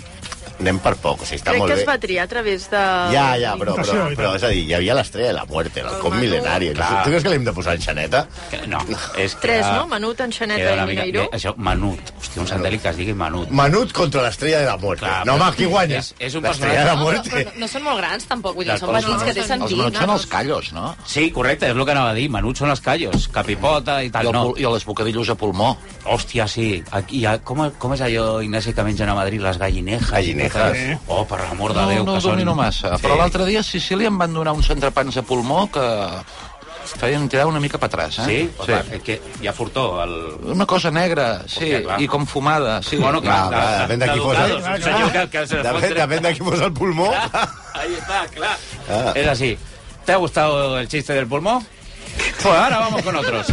[SPEAKER 7] anem per poc. O sigui, està
[SPEAKER 16] Crec
[SPEAKER 7] molt
[SPEAKER 16] que
[SPEAKER 7] bé.
[SPEAKER 16] es va triar a través de...
[SPEAKER 7] Ja, ja, però, però, però, és a dir, hi havia l'estrella de la muerte, el com mil·lenari. No sé,
[SPEAKER 3] Clar.
[SPEAKER 7] Tu creus que l'hem de posar enxaneta?
[SPEAKER 3] Que No, és que...
[SPEAKER 16] Tres,
[SPEAKER 3] era-
[SPEAKER 16] no? Menut, enxaneta
[SPEAKER 3] Queda
[SPEAKER 16] i
[SPEAKER 3] una mica...
[SPEAKER 16] Mineiro.
[SPEAKER 3] que- Això, Manut. Hòstia, un satèl·lit que es digui Manut.
[SPEAKER 7] Manut contra l'estrella de la muerte.
[SPEAKER 3] Clar,
[SPEAKER 7] no,
[SPEAKER 3] però-
[SPEAKER 7] home, qui guanya?
[SPEAKER 3] És- és un
[SPEAKER 7] L'estrella de la muerte.
[SPEAKER 9] No, no són molt grans, tampoc. Vull dir,
[SPEAKER 3] Les
[SPEAKER 9] són
[SPEAKER 3] coses
[SPEAKER 9] petits que té
[SPEAKER 6] Els
[SPEAKER 9] sentit.
[SPEAKER 6] menuts són els callos, no?
[SPEAKER 3] Sí, correcte, és el que anava a dir. Manut són els callos, capipota i
[SPEAKER 6] I,
[SPEAKER 3] tal.
[SPEAKER 6] el,
[SPEAKER 3] No.
[SPEAKER 6] pul- I les bocadillos a pulmó.
[SPEAKER 3] Hòstia, sí. Aquí, a, com, com és allò, Ignasi, que mengen a Madrid les gallinejas?
[SPEAKER 7] Gallinejas.
[SPEAKER 3] Gallinejas. Oh, per l'amor de Déu,
[SPEAKER 6] no
[SPEAKER 3] que
[SPEAKER 6] ho domino
[SPEAKER 3] són...
[SPEAKER 6] massa. Sí. Però l'altre dia a Sicília em van donar uns entrepans a pulmó que feien tirar una mica per atràs, eh?
[SPEAKER 3] Sí? sí. És que hi ha furtó. El...
[SPEAKER 6] Una cosa negra, sí,
[SPEAKER 3] Hòstia, clar.
[SPEAKER 6] i com fumada, sí.
[SPEAKER 3] Bueno, clar,
[SPEAKER 7] clar,
[SPEAKER 3] de-
[SPEAKER 7] depèn de qui
[SPEAKER 3] d'educados,
[SPEAKER 7] fos, eh?
[SPEAKER 3] un senyor que, que se
[SPEAKER 7] Depèn, depèn de qui posa el pulmó.
[SPEAKER 3] Ahí está, claro.
[SPEAKER 7] Ah.
[SPEAKER 3] Es así. ¿Te ha gustado el chiste del pulmón? Pues ahora vamos con otros.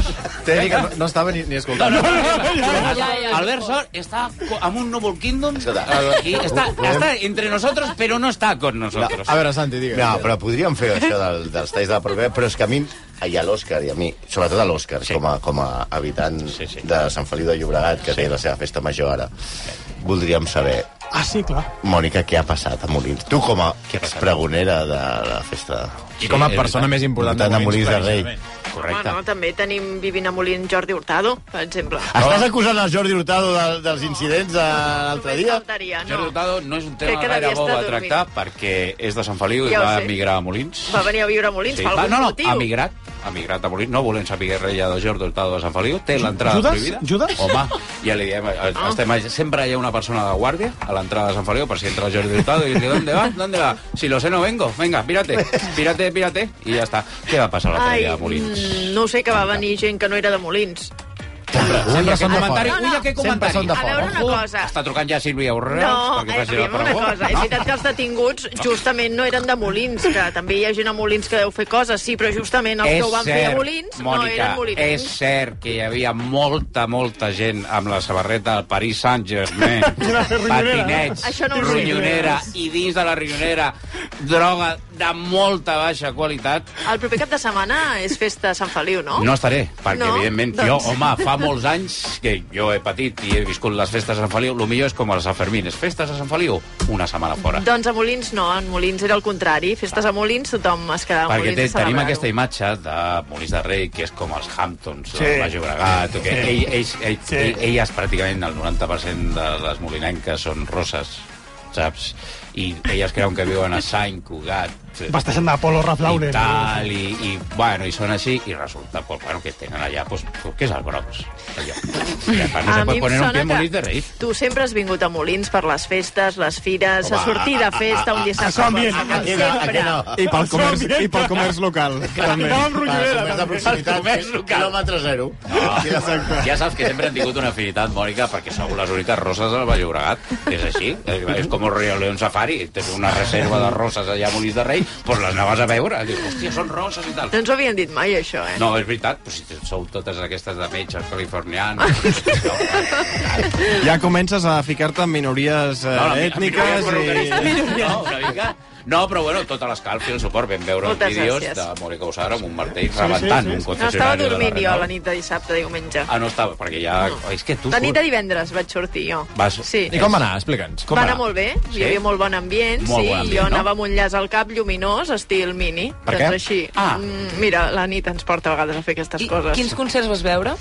[SPEAKER 4] T'he de dir que no, no estava ni, ni escoltant.
[SPEAKER 3] No, no, no,
[SPEAKER 9] Ja, ja, ja.
[SPEAKER 3] Albert Sor está co- a un Noble Kingdom
[SPEAKER 7] Escolta.
[SPEAKER 3] y está, está entre nosotros, pero no está con nosotros.
[SPEAKER 4] A veure, Santi, digues.
[SPEAKER 7] No, però podríem fer això del, dels talls de la propera, però és que a mi, i a l'Òscar, i a mi, sobretot a l'Òscar, sí. com, a, com a habitant sí, sí. de Sant Feliu de Llobregat, que sí. té la seva festa major ara, voldríem saber,
[SPEAKER 2] Ah, sí, clar.
[SPEAKER 7] Mònica, què ha passat a Molins? Tu, com a pregonera de la festa...
[SPEAKER 4] I com a persona més important
[SPEAKER 7] Important de Molins de Rei.
[SPEAKER 16] Home,
[SPEAKER 7] Correcte.
[SPEAKER 16] no, també tenim vivint a Molins Jordi Hurtado, per exemple.
[SPEAKER 7] Estàs acusant el Jordi Hurtado de, dels incidents de l'altre
[SPEAKER 16] Només
[SPEAKER 7] dia?
[SPEAKER 16] faltaria,
[SPEAKER 3] Jordi
[SPEAKER 16] no.
[SPEAKER 3] Hurtado no és un
[SPEAKER 16] Crec
[SPEAKER 3] tema
[SPEAKER 16] que
[SPEAKER 3] gaire
[SPEAKER 16] devia
[SPEAKER 3] bo a
[SPEAKER 16] estar dormint.
[SPEAKER 3] tractar perquè és de Sant Feliu i
[SPEAKER 16] Ja ho
[SPEAKER 3] va
[SPEAKER 16] sé.
[SPEAKER 3] emigrar a Molins.
[SPEAKER 16] Va venir a viure a Molins,
[SPEAKER 3] Sí.
[SPEAKER 16] sí. per
[SPEAKER 3] Va,
[SPEAKER 16] algun
[SPEAKER 3] no, no,
[SPEAKER 16] motiu.
[SPEAKER 3] ha migrat, ha migrat a Molins. No volem saber res ja de Jordi Hurtado de Sant Feliu. Té l'entrada
[SPEAKER 2] Judas?
[SPEAKER 3] prohibida.
[SPEAKER 2] Judas?
[SPEAKER 3] Home, ja li diem, ah. estem, allà- sempre hi ha una persona de guàrdia a l'entrada de Sant Feliu per si entra Jordi Hurtado i diu, ¿dónde va? ¿Dónde va? Si lo sé no vengo. Venga, pírate, pírate, pírate. I ja està. Què va passar l'altre
[SPEAKER 16] Ai,
[SPEAKER 3] dia a Molins?
[SPEAKER 16] mm, no ho sé, que va venir gent que no era de Molins.
[SPEAKER 4] Sempre
[SPEAKER 3] Aquest
[SPEAKER 4] són de fora.
[SPEAKER 3] comentari,
[SPEAKER 16] No, no,
[SPEAKER 3] ui, aquest
[SPEAKER 4] sempre
[SPEAKER 3] comentari.
[SPEAKER 4] són de
[SPEAKER 16] A veure
[SPEAKER 4] fora.
[SPEAKER 16] una cosa.
[SPEAKER 3] Està trucant ja Sílvia Urreus
[SPEAKER 16] No,
[SPEAKER 3] perquè
[SPEAKER 16] eh,
[SPEAKER 3] faci la
[SPEAKER 16] diguem una
[SPEAKER 3] pregunta.
[SPEAKER 16] cosa. És veritat que els detinguts justament no eren de Molins, que també hi ha gent a Molins que deu fer coses, sí, però justament els que ho van fer a Molins no
[SPEAKER 3] Mònica,
[SPEAKER 16] eren molins.
[SPEAKER 3] és cert que hi havia molta, molta gent amb la sabarreta del Paris Saint-Germain, patinets,
[SPEAKER 16] Això no ho sé.
[SPEAKER 3] ronyonera, i dins de la ronyonera droga de molta baixa qualitat.
[SPEAKER 16] El proper cap de setmana és festa a Sant Feliu, no?
[SPEAKER 3] No estaré, perquè,
[SPEAKER 16] No?
[SPEAKER 3] evidentment,
[SPEAKER 16] Doncs-
[SPEAKER 3] jo, home, fa molts anys que jo he patit i he viscut les festes a Sant Feliu. Lo millor és com a les Sanfermines. Festes a Sant Feliu, una setmana fora.
[SPEAKER 16] Doncs a Molins no, en Molins era el contrari. Festes a Molins, tothom es quedava a
[SPEAKER 3] Perquè
[SPEAKER 16] Molins
[SPEAKER 3] té,
[SPEAKER 16] a
[SPEAKER 3] tenim
[SPEAKER 16] celebrar-ho.
[SPEAKER 3] aquesta imatge de Molins de Rei, que és com els Hamptons, sí. el Baix Llobregat, o que sí. ell, ells, ell, sí. ell, elles pràcticament el 90% de les molinenques són roses, saps? I elles creuen que viuen a Sant Cugat,
[SPEAKER 2] Basteixen d'Apolo Ralph
[SPEAKER 3] i
[SPEAKER 2] Lauren.
[SPEAKER 3] tal, i, i, bueno, i són així, i resulta pues, bueno, que tenen allà, pues, que és el brocs, allò. I a part no
[SPEAKER 16] A
[SPEAKER 3] se
[SPEAKER 16] mi
[SPEAKER 3] pot
[SPEAKER 16] em
[SPEAKER 3] poner un
[SPEAKER 16] sona
[SPEAKER 3] pie en
[SPEAKER 16] que
[SPEAKER 3] Molins de Rei.
[SPEAKER 16] Tu sempre has vingut a Molins per les festes, les fires, a sortir de festa un dissabte.
[SPEAKER 2] Això ambient.
[SPEAKER 16] Sempre.
[SPEAKER 7] Aquí no, aquí no.
[SPEAKER 1] I pel comerç, i pel comerç local, també.
[SPEAKER 7] Comerç de proximitat, quilòmetre zero. Aquí la Sant-
[SPEAKER 3] Ja saps que sempre han tingut una afinitat, Mònica, perquè sou les úniques roses al Vall Llobregat. És així. És com el Rio León Safari. Tens una reserva de roses allà a Molins de Rei, doncs les anaves a veure. Dius, hòstia, són roses i tal.
[SPEAKER 16] No ens ho havien dit mai, això, eh?
[SPEAKER 3] No, és veritat, però si sou totes aquestes de metges californianes... No,
[SPEAKER 1] Ja comences a ficar-te en minories eh,
[SPEAKER 3] no, la mi-
[SPEAKER 1] ètniques
[SPEAKER 3] minoria
[SPEAKER 1] i...
[SPEAKER 3] progressista, No, una mica... No, però bueno, tota l'escalf i el suport. Vam veure
[SPEAKER 16] Moltes
[SPEAKER 3] els vídeos
[SPEAKER 16] gràcies.
[SPEAKER 3] de Morika Usar amb un martell
[SPEAKER 16] Sí,
[SPEAKER 3] rebentant un
[SPEAKER 16] No estava
[SPEAKER 3] concessionari. de la
[SPEAKER 16] dormint jo
[SPEAKER 3] Renault.
[SPEAKER 16] la nit de dissabte, diumenge.
[SPEAKER 3] Ah, no estava, perquè ja... És que tu...
[SPEAKER 16] La nit
[SPEAKER 3] surts-
[SPEAKER 16] de divendres vaig sortir jo.
[SPEAKER 3] Vas...
[SPEAKER 16] Sí.
[SPEAKER 3] Explica'ns.
[SPEAKER 16] va anar molt bé,
[SPEAKER 3] Sí?
[SPEAKER 16] hi havia molt bon ambient,
[SPEAKER 3] Molt
[SPEAKER 16] sí,
[SPEAKER 3] bon ambient,
[SPEAKER 16] jo
[SPEAKER 3] no?
[SPEAKER 16] anava amb un llaç al cap lluminós, estil mini.
[SPEAKER 3] Per
[SPEAKER 16] doncs
[SPEAKER 3] què?
[SPEAKER 16] així. Ah. mira, la nit ens porta a vegades a fer aquestes I, coses.
[SPEAKER 9] Quins concerts vas veure?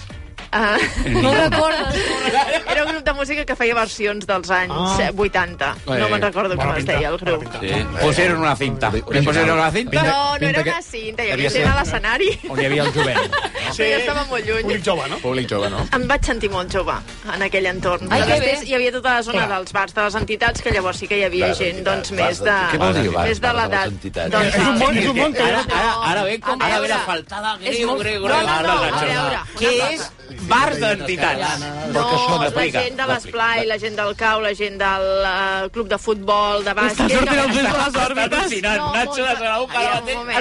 [SPEAKER 16] Ah.
[SPEAKER 9] No recordes.
[SPEAKER 16] Era un grup de música que feia versions dels anys
[SPEAKER 3] Ah.
[SPEAKER 16] eh, 80.
[SPEAKER 3] Eh,
[SPEAKER 16] No me'n recordo
[SPEAKER 3] bona
[SPEAKER 16] com es
[SPEAKER 3] pinta,
[SPEAKER 16] deia el grup.
[SPEAKER 3] Sí. Pusieron una cinta. Li pusieron una cinta?
[SPEAKER 16] No, no era una cinta, hi havia
[SPEAKER 3] Devia
[SPEAKER 16] gent
[SPEAKER 3] ser-
[SPEAKER 16] a l'escenari.
[SPEAKER 3] on hi havia el jovent.
[SPEAKER 16] Sí. Jo estava molt lluny. Públic jove, no?
[SPEAKER 4] Públic jove, no?
[SPEAKER 16] Em vaig sentir molt jove en aquell entorn.
[SPEAKER 3] Ai,
[SPEAKER 16] Ai,
[SPEAKER 3] que
[SPEAKER 16] després
[SPEAKER 3] bé.
[SPEAKER 16] hi havia tota la zona
[SPEAKER 3] Clar.
[SPEAKER 16] dels bars, de les entitats, que llavors sí que hi havia
[SPEAKER 3] Bars,
[SPEAKER 16] gent doncs,
[SPEAKER 3] entitats,
[SPEAKER 16] més
[SPEAKER 3] bars
[SPEAKER 16] de...
[SPEAKER 3] d'entitats. Què vol dir, bars,
[SPEAKER 16] Més de
[SPEAKER 3] bars de les
[SPEAKER 16] l'edat.
[SPEAKER 3] entitats?
[SPEAKER 16] Doncs,
[SPEAKER 3] És un món, és un món que-
[SPEAKER 16] Ara,
[SPEAKER 3] ara- ara ve com- ara ve la faltada greu, greu, greu.
[SPEAKER 16] No, no,
[SPEAKER 3] Ara,
[SPEAKER 16] no, a veure.
[SPEAKER 3] Què és bars d'entitats?
[SPEAKER 16] No,
[SPEAKER 3] Però què són?
[SPEAKER 16] la
[SPEAKER 3] Explica,
[SPEAKER 16] gent de
[SPEAKER 3] explica.
[SPEAKER 16] l'esplai, la gent del cau, la gent del eh, club de futbol, de bàsquet...
[SPEAKER 3] Està sortint el
[SPEAKER 16] que-
[SPEAKER 3] pes de les òrbites.
[SPEAKER 16] Està al·lucinant.
[SPEAKER 3] No, Nacho de Sarau, per
[SPEAKER 16] Aviam, un moment.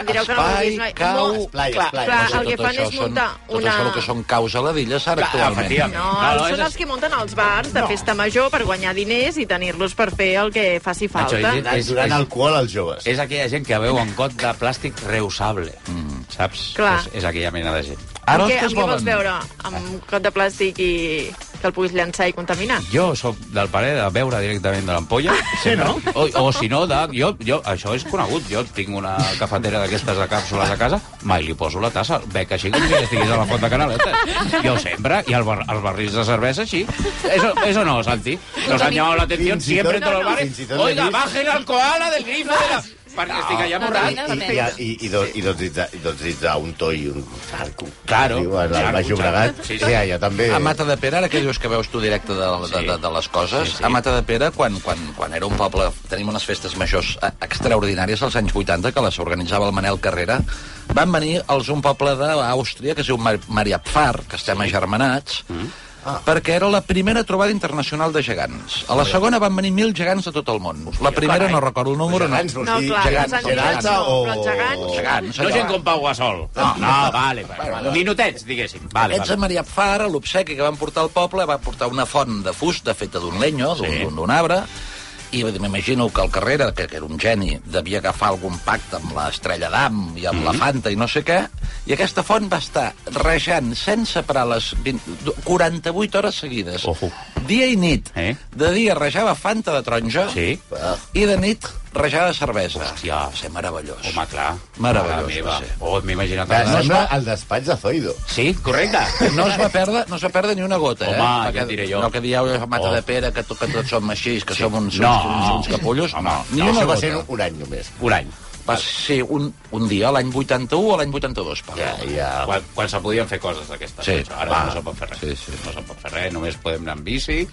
[SPEAKER 16] Em direu que no
[SPEAKER 6] Espai,
[SPEAKER 16] m'ho dius, noi.
[SPEAKER 6] cau,
[SPEAKER 16] No,
[SPEAKER 6] esplai,
[SPEAKER 16] clar,
[SPEAKER 6] esplai.
[SPEAKER 16] clar,
[SPEAKER 6] No sé,
[SPEAKER 16] Ah, el que
[SPEAKER 6] tot
[SPEAKER 16] fan
[SPEAKER 6] això
[SPEAKER 16] és
[SPEAKER 6] són-
[SPEAKER 16] muntar
[SPEAKER 6] Tot
[SPEAKER 16] una...
[SPEAKER 6] això el que són caus a la dilla s'ha actualment.
[SPEAKER 16] No, són els que munten els bars de festa major per guanyar diners i tenir-los per fer el que faci falta.
[SPEAKER 7] donant alcohol als joves.
[SPEAKER 3] És aquella gent que veu un got de plàstic reusable, Mm, saps?
[SPEAKER 16] Clar.
[SPEAKER 3] És, és aquella mena de gent.
[SPEAKER 16] Ara amb què, amb què vols veure? Amb un cot de plàstic i que el puguis llançar i contaminar?
[SPEAKER 3] Jo sóc del parer de beure directament de l'ampolla. Ah, Sí, no? O, o si no, de, jo, jo, això és conegut. Jo tinc una cafetera d'aquestes de càpsules a casa, mai li poso la tassa, bec així com si estigués a la font de Canaletes. Jo sempre, i el bar, els barrils de cervesa així. Eso, eso no, Santi. Nos ha llamado la atenció
[SPEAKER 7] Fins i
[SPEAKER 3] siempre en
[SPEAKER 7] tot-
[SPEAKER 3] todos los
[SPEAKER 7] fins i
[SPEAKER 3] bares.
[SPEAKER 7] tot he
[SPEAKER 3] Oiga,
[SPEAKER 7] vist-
[SPEAKER 3] bajen al koala del grifo de la... Perquè estic allà
[SPEAKER 7] No,
[SPEAKER 3] borrat.
[SPEAKER 7] I, i, i, i, dos, i dos dits de, i dos dits d'un to i un sarco.
[SPEAKER 3] Claro.
[SPEAKER 7] Diu, a la,
[SPEAKER 6] Sarco,
[SPEAKER 7] Baix Llobregat.
[SPEAKER 6] sarco.
[SPEAKER 7] Sí,
[SPEAKER 6] Sí, sí.
[SPEAKER 7] sí. ja també...
[SPEAKER 6] A Mata de Pere, ara que dius que veus tu directe de, de, de, de les coses, sí, sí. a Mata de Pere, quan, quan, quan era un poble, tenim unes festes majors eh, extraordinàries als anys 80, que les organitzava el Manel Carrera, van venir els un poble d'Àustria que es diu Mar Mariapfar, que estem agermanats, Ah. perquè era la primera trobada internacional de gegants. A la segona van venir mil gegants de tot el món. La primera no recordo el número.
[SPEAKER 7] Gegants,
[SPEAKER 6] no,
[SPEAKER 7] vols dir No, clar, gegants, els gegants gegants no, o- però els gegants-
[SPEAKER 6] gegants
[SPEAKER 3] No
[SPEAKER 6] allò. eh?
[SPEAKER 3] gent com Pau Gasol. No, no, vale, vale. vale. Minutets, diguéssim. Vale,
[SPEAKER 6] Ets a
[SPEAKER 3] vale.
[SPEAKER 6] Maria Fara, l'obsequi que van portar al poble, va portar una font de fusta feta d'un lenyo, d'un
[SPEAKER 3] Sí.
[SPEAKER 6] d'un- d'un arbre, i m'imagino que el Carrera, que, que era un geni, devia agafar algun pacte amb l'estrella d'Am i amb mm -hmm. la Fanta i no sé què, i aquesta font va estar rejant sense parar les 20, du- 48 hores seguides. Ojo. Dia i nit. Eh? De dia rejava Fanta de taronja sí. i de nit rejava cervesa. Hòstia, va ser meravellós.
[SPEAKER 3] Home, clar.
[SPEAKER 6] Meravellós
[SPEAKER 3] Mare
[SPEAKER 6] va
[SPEAKER 3] meva.
[SPEAKER 6] ser.
[SPEAKER 3] Oh, m'he imaginat...
[SPEAKER 7] Que
[SPEAKER 3] No es
[SPEAKER 7] sembla
[SPEAKER 3] va-
[SPEAKER 7] el despatx de Zoido.
[SPEAKER 3] Sí, correcte.
[SPEAKER 6] No es va perdre, no es va perdre ni una gota, eh?
[SPEAKER 3] Home,
[SPEAKER 6] Perquè
[SPEAKER 3] ja et diré jo.
[SPEAKER 6] El que dieu és mata
[SPEAKER 3] Oh.
[SPEAKER 6] de pera, que, to, que tots som així, que som uns,
[SPEAKER 3] No.
[SPEAKER 6] uns, uns, uns capullos.
[SPEAKER 3] Home,
[SPEAKER 6] ni
[SPEAKER 3] no,
[SPEAKER 6] una
[SPEAKER 7] això va
[SPEAKER 6] gota.
[SPEAKER 7] ser un any només.
[SPEAKER 3] Un any.
[SPEAKER 6] Va ser un, un dia, l'any 81 o l'any 82, per ja,
[SPEAKER 7] ja.
[SPEAKER 3] Quan, quan se podien fer coses d'aquestes.
[SPEAKER 6] Sí,
[SPEAKER 3] Ara
[SPEAKER 6] va.
[SPEAKER 3] no se'n pot fer res. Sí, sí. No se'n pot fer res, només podem anar amb bici,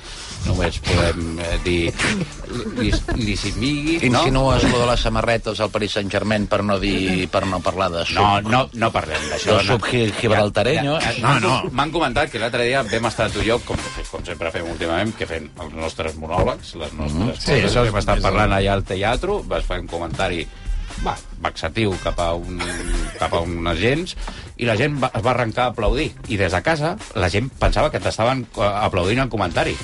[SPEAKER 3] només podem eh, dir lis, lisimigui... no?
[SPEAKER 6] Insinues lo de les samarretes al Paris Saint-Germain per no dir per no parlar de sub...
[SPEAKER 3] No, no, no parlem d'això.
[SPEAKER 6] Del eh? sub gi- gibraltareño.
[SPEAKER 3] Ja, ja, no, no. M'han comentat que l'altre dia vam estar tu i jo, com, com sempre fem últimament, que fem els nostres monòlegs, les nostres...
[SPEAKER 6] Mhm.
[SPEAKER 3] Mm,
[SPEAKER 6] Sí, això és
[SPEAKER 3] vam estar
[SPEAKER 6] més
[SPEAKER 3] parlant
[SPEAKER 6] el-
[SPEAKER 3] allà al teatre, vas fer un comentari va, vexatiu cap a, un, cap a un agents, i la gent va, es va arrencar a aplaudir. I des de casa la gent pensava que t'estaven eh, aplaudint el comentari.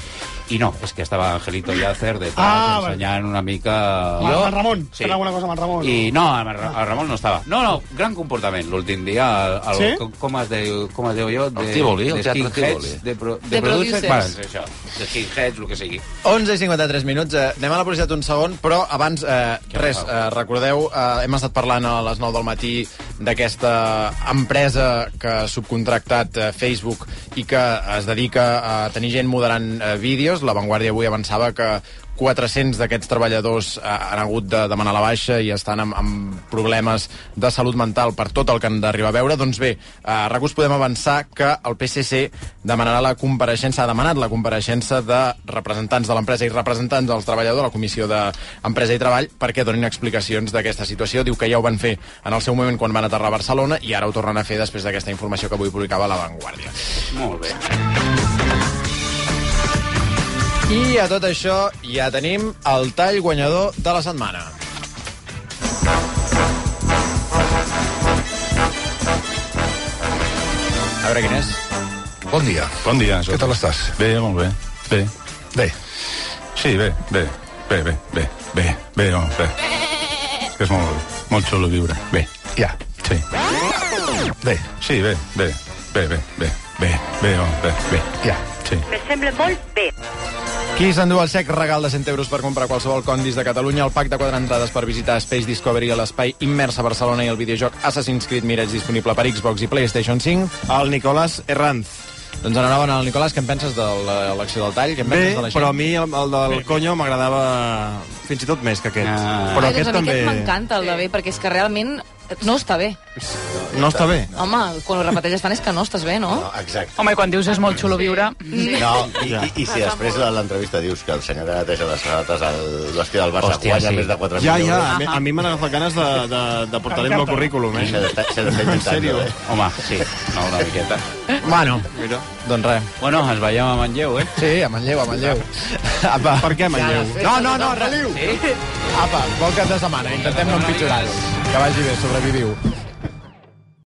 [SPEAKER 3] I no, és que estava Angelito Llacer detrás
[SPEAKER 2] Ah, vale.
[SPEAKER 3] ensenyant una mica...
[SPEAKER 2] Amb el Ramon, sí.
[SPEAKER 3] Sí.
[SPEAKER 2] alguna cosa amb el Ramon.
[SPEAKER 3] I no, el, Ra- el Ramon no estava. No, no, gran comportament l'últim dia. El, el,
[SPEAKER 2] Sí?
[SPEAKER 3] com, com, es diu, com es diu jo? De,
[SPEAKER 6] El Tívoli, el
[SPEAKER 3] de
[SPEAKER 6] teatre
[SPEAKER 3] skinheads,
[SPEAKER 6] Tívoli.
[SPEAKER 3] De, pro, de,
[SPEAKER 6] De
[SPEAKER 3] producers.
[SPEAKER 6] producers.
[SPEAKER 3] Bueno, és això, de skinheads, el que sigui.
[SPEAKER 4] 11 i 53 minuts. Eh, anem a la publicitat un segon, però abans, eh, res, eh, recordeu, eh, hem estat parlant a les 9 del matí d'aquesta empresa que ha subcontractat eh, Facebook i que es dedica a tenir gent moderant eh, vídeos. La Vanguardia avui avançava que 400 d'aquests treballadors eh, han hagut de demanar la baixa i estan amb, amb problemes de salut mental per tota tot el que han d'arribar a veure. Doncs bé, a RAC1 podem avançar que el PSC demanarà la compareixença, ha demanat la compareixença de representants de l'empresa i representants dels treballadors a la Comissió d'Empresa i Treball perquè donin explicacions d'aquesta situació. Diu que ja ho van fer en el seu moment quan van aterrar a Barcelona i ara ho tornen a fer després d'aquesta informació que avui publicava La Vanguardia.
[SPEAKER 3] Molt bé.
[SPEAKER 4] I a tot això ja tenim el tall guanyador de la setmana. A veure quin és.
[SPEAKER 13] Bon dia. Bon dia. Què tal estàs? Bé, molt bé. Bé. Bé. Sí, bé, bé. Bé, bé, bé, bé, bé, home, bé.
[SPEAKER 18] que és molt, molt xulo viure. Bé, ja, sí. Bé, sí, bé, bé, bé, bé, bé, bé, bé, home, bé, bé, ja, sí.
[SPEAKER 16] Me sembla molt bé.
[SPEAKER 2] Qui s'endú el xec regal de 100 euros per comprar qualsevol condis de Catalunya, el pack de quatre entrades per visitar Space Discovery a l'espai immers a Barcelona i el videojoc Assassin's Creed Mirage disponible per Xbox i PlayStation 5?
[SPEAKER 1] El Nicolás Herranz.
[SPEAKER 2] Doncs anaven al Nicolás, què en penses de l'elecció del tall? Què en penses
[SPEAKER 1] Bé,
[SPEAKER 2] de la gent?
[SPEAKER 1] però a mi el, el del Conyo m'agradava fins i tot més que aquest.
[SPEAKER 2] Ah.
[SPEAKER 1] Però
[SPEAKER 13] Ai,
[SPEAKER 1] aquest
[SPEAKER 13] doncs a mi
[SPEAKER 1] també...
[SPEAKER 13] aquest m'encanta, el de bé, perquè és que realment no està bé.
[SPEAKER 1] No està bé.
[SPEAKER 13] No. Home, quan ho repeteixes tant és que no estàs bé, no?
[SPEAKER 7] Ah, Exacte.
[SPEAKER 5] Home, quan dius és molt xulo viure...
[SPEAKER 7] No, i, i, i si després de l'entrevista dius que el senyor que neteja les sabates al l'esquí del Barça
[SPEAKER 1] Hòstia,
[SPEAKER 7] Hòstia, guanya
[SPEAKER 1] sí.
[SPEAKER 7] sí. més de 4.000
[SPEAKER 1] Ja, ja,
[SPEAKER 7] euros...
[SPEAKER 1] a mi- a mi m'han agafat ganes de, de, de portar-hi el meu currículum, eh?
[SPEAKER 7] Se l'està se l'està
[SPEAKER 1] En
[SPEAKER 7] inventant,
[SPEAKER 1] sèrio.
[SPEAKER 7] eh?
[SPEAKER 3] Home, sí, no, una miqueta.
[SPEAKER 2] Bueno,
[SPEAKER 1] Mira.
[SPEAKER 2] doncs res.
[SPEAKER 3] Bueno, ens veiem a Manlleu, eh?
[SPEAKER 2] Sí, a Manlleu, a Manlleu. Apa.
[SPEAKER 1] Per què Manlleu?
[SPEAKER 2] No, no, no, rediu. Sí? Apa, bon cap de setmana, intentem no empitjorar-ho. Que vagi bé, sobreviviu.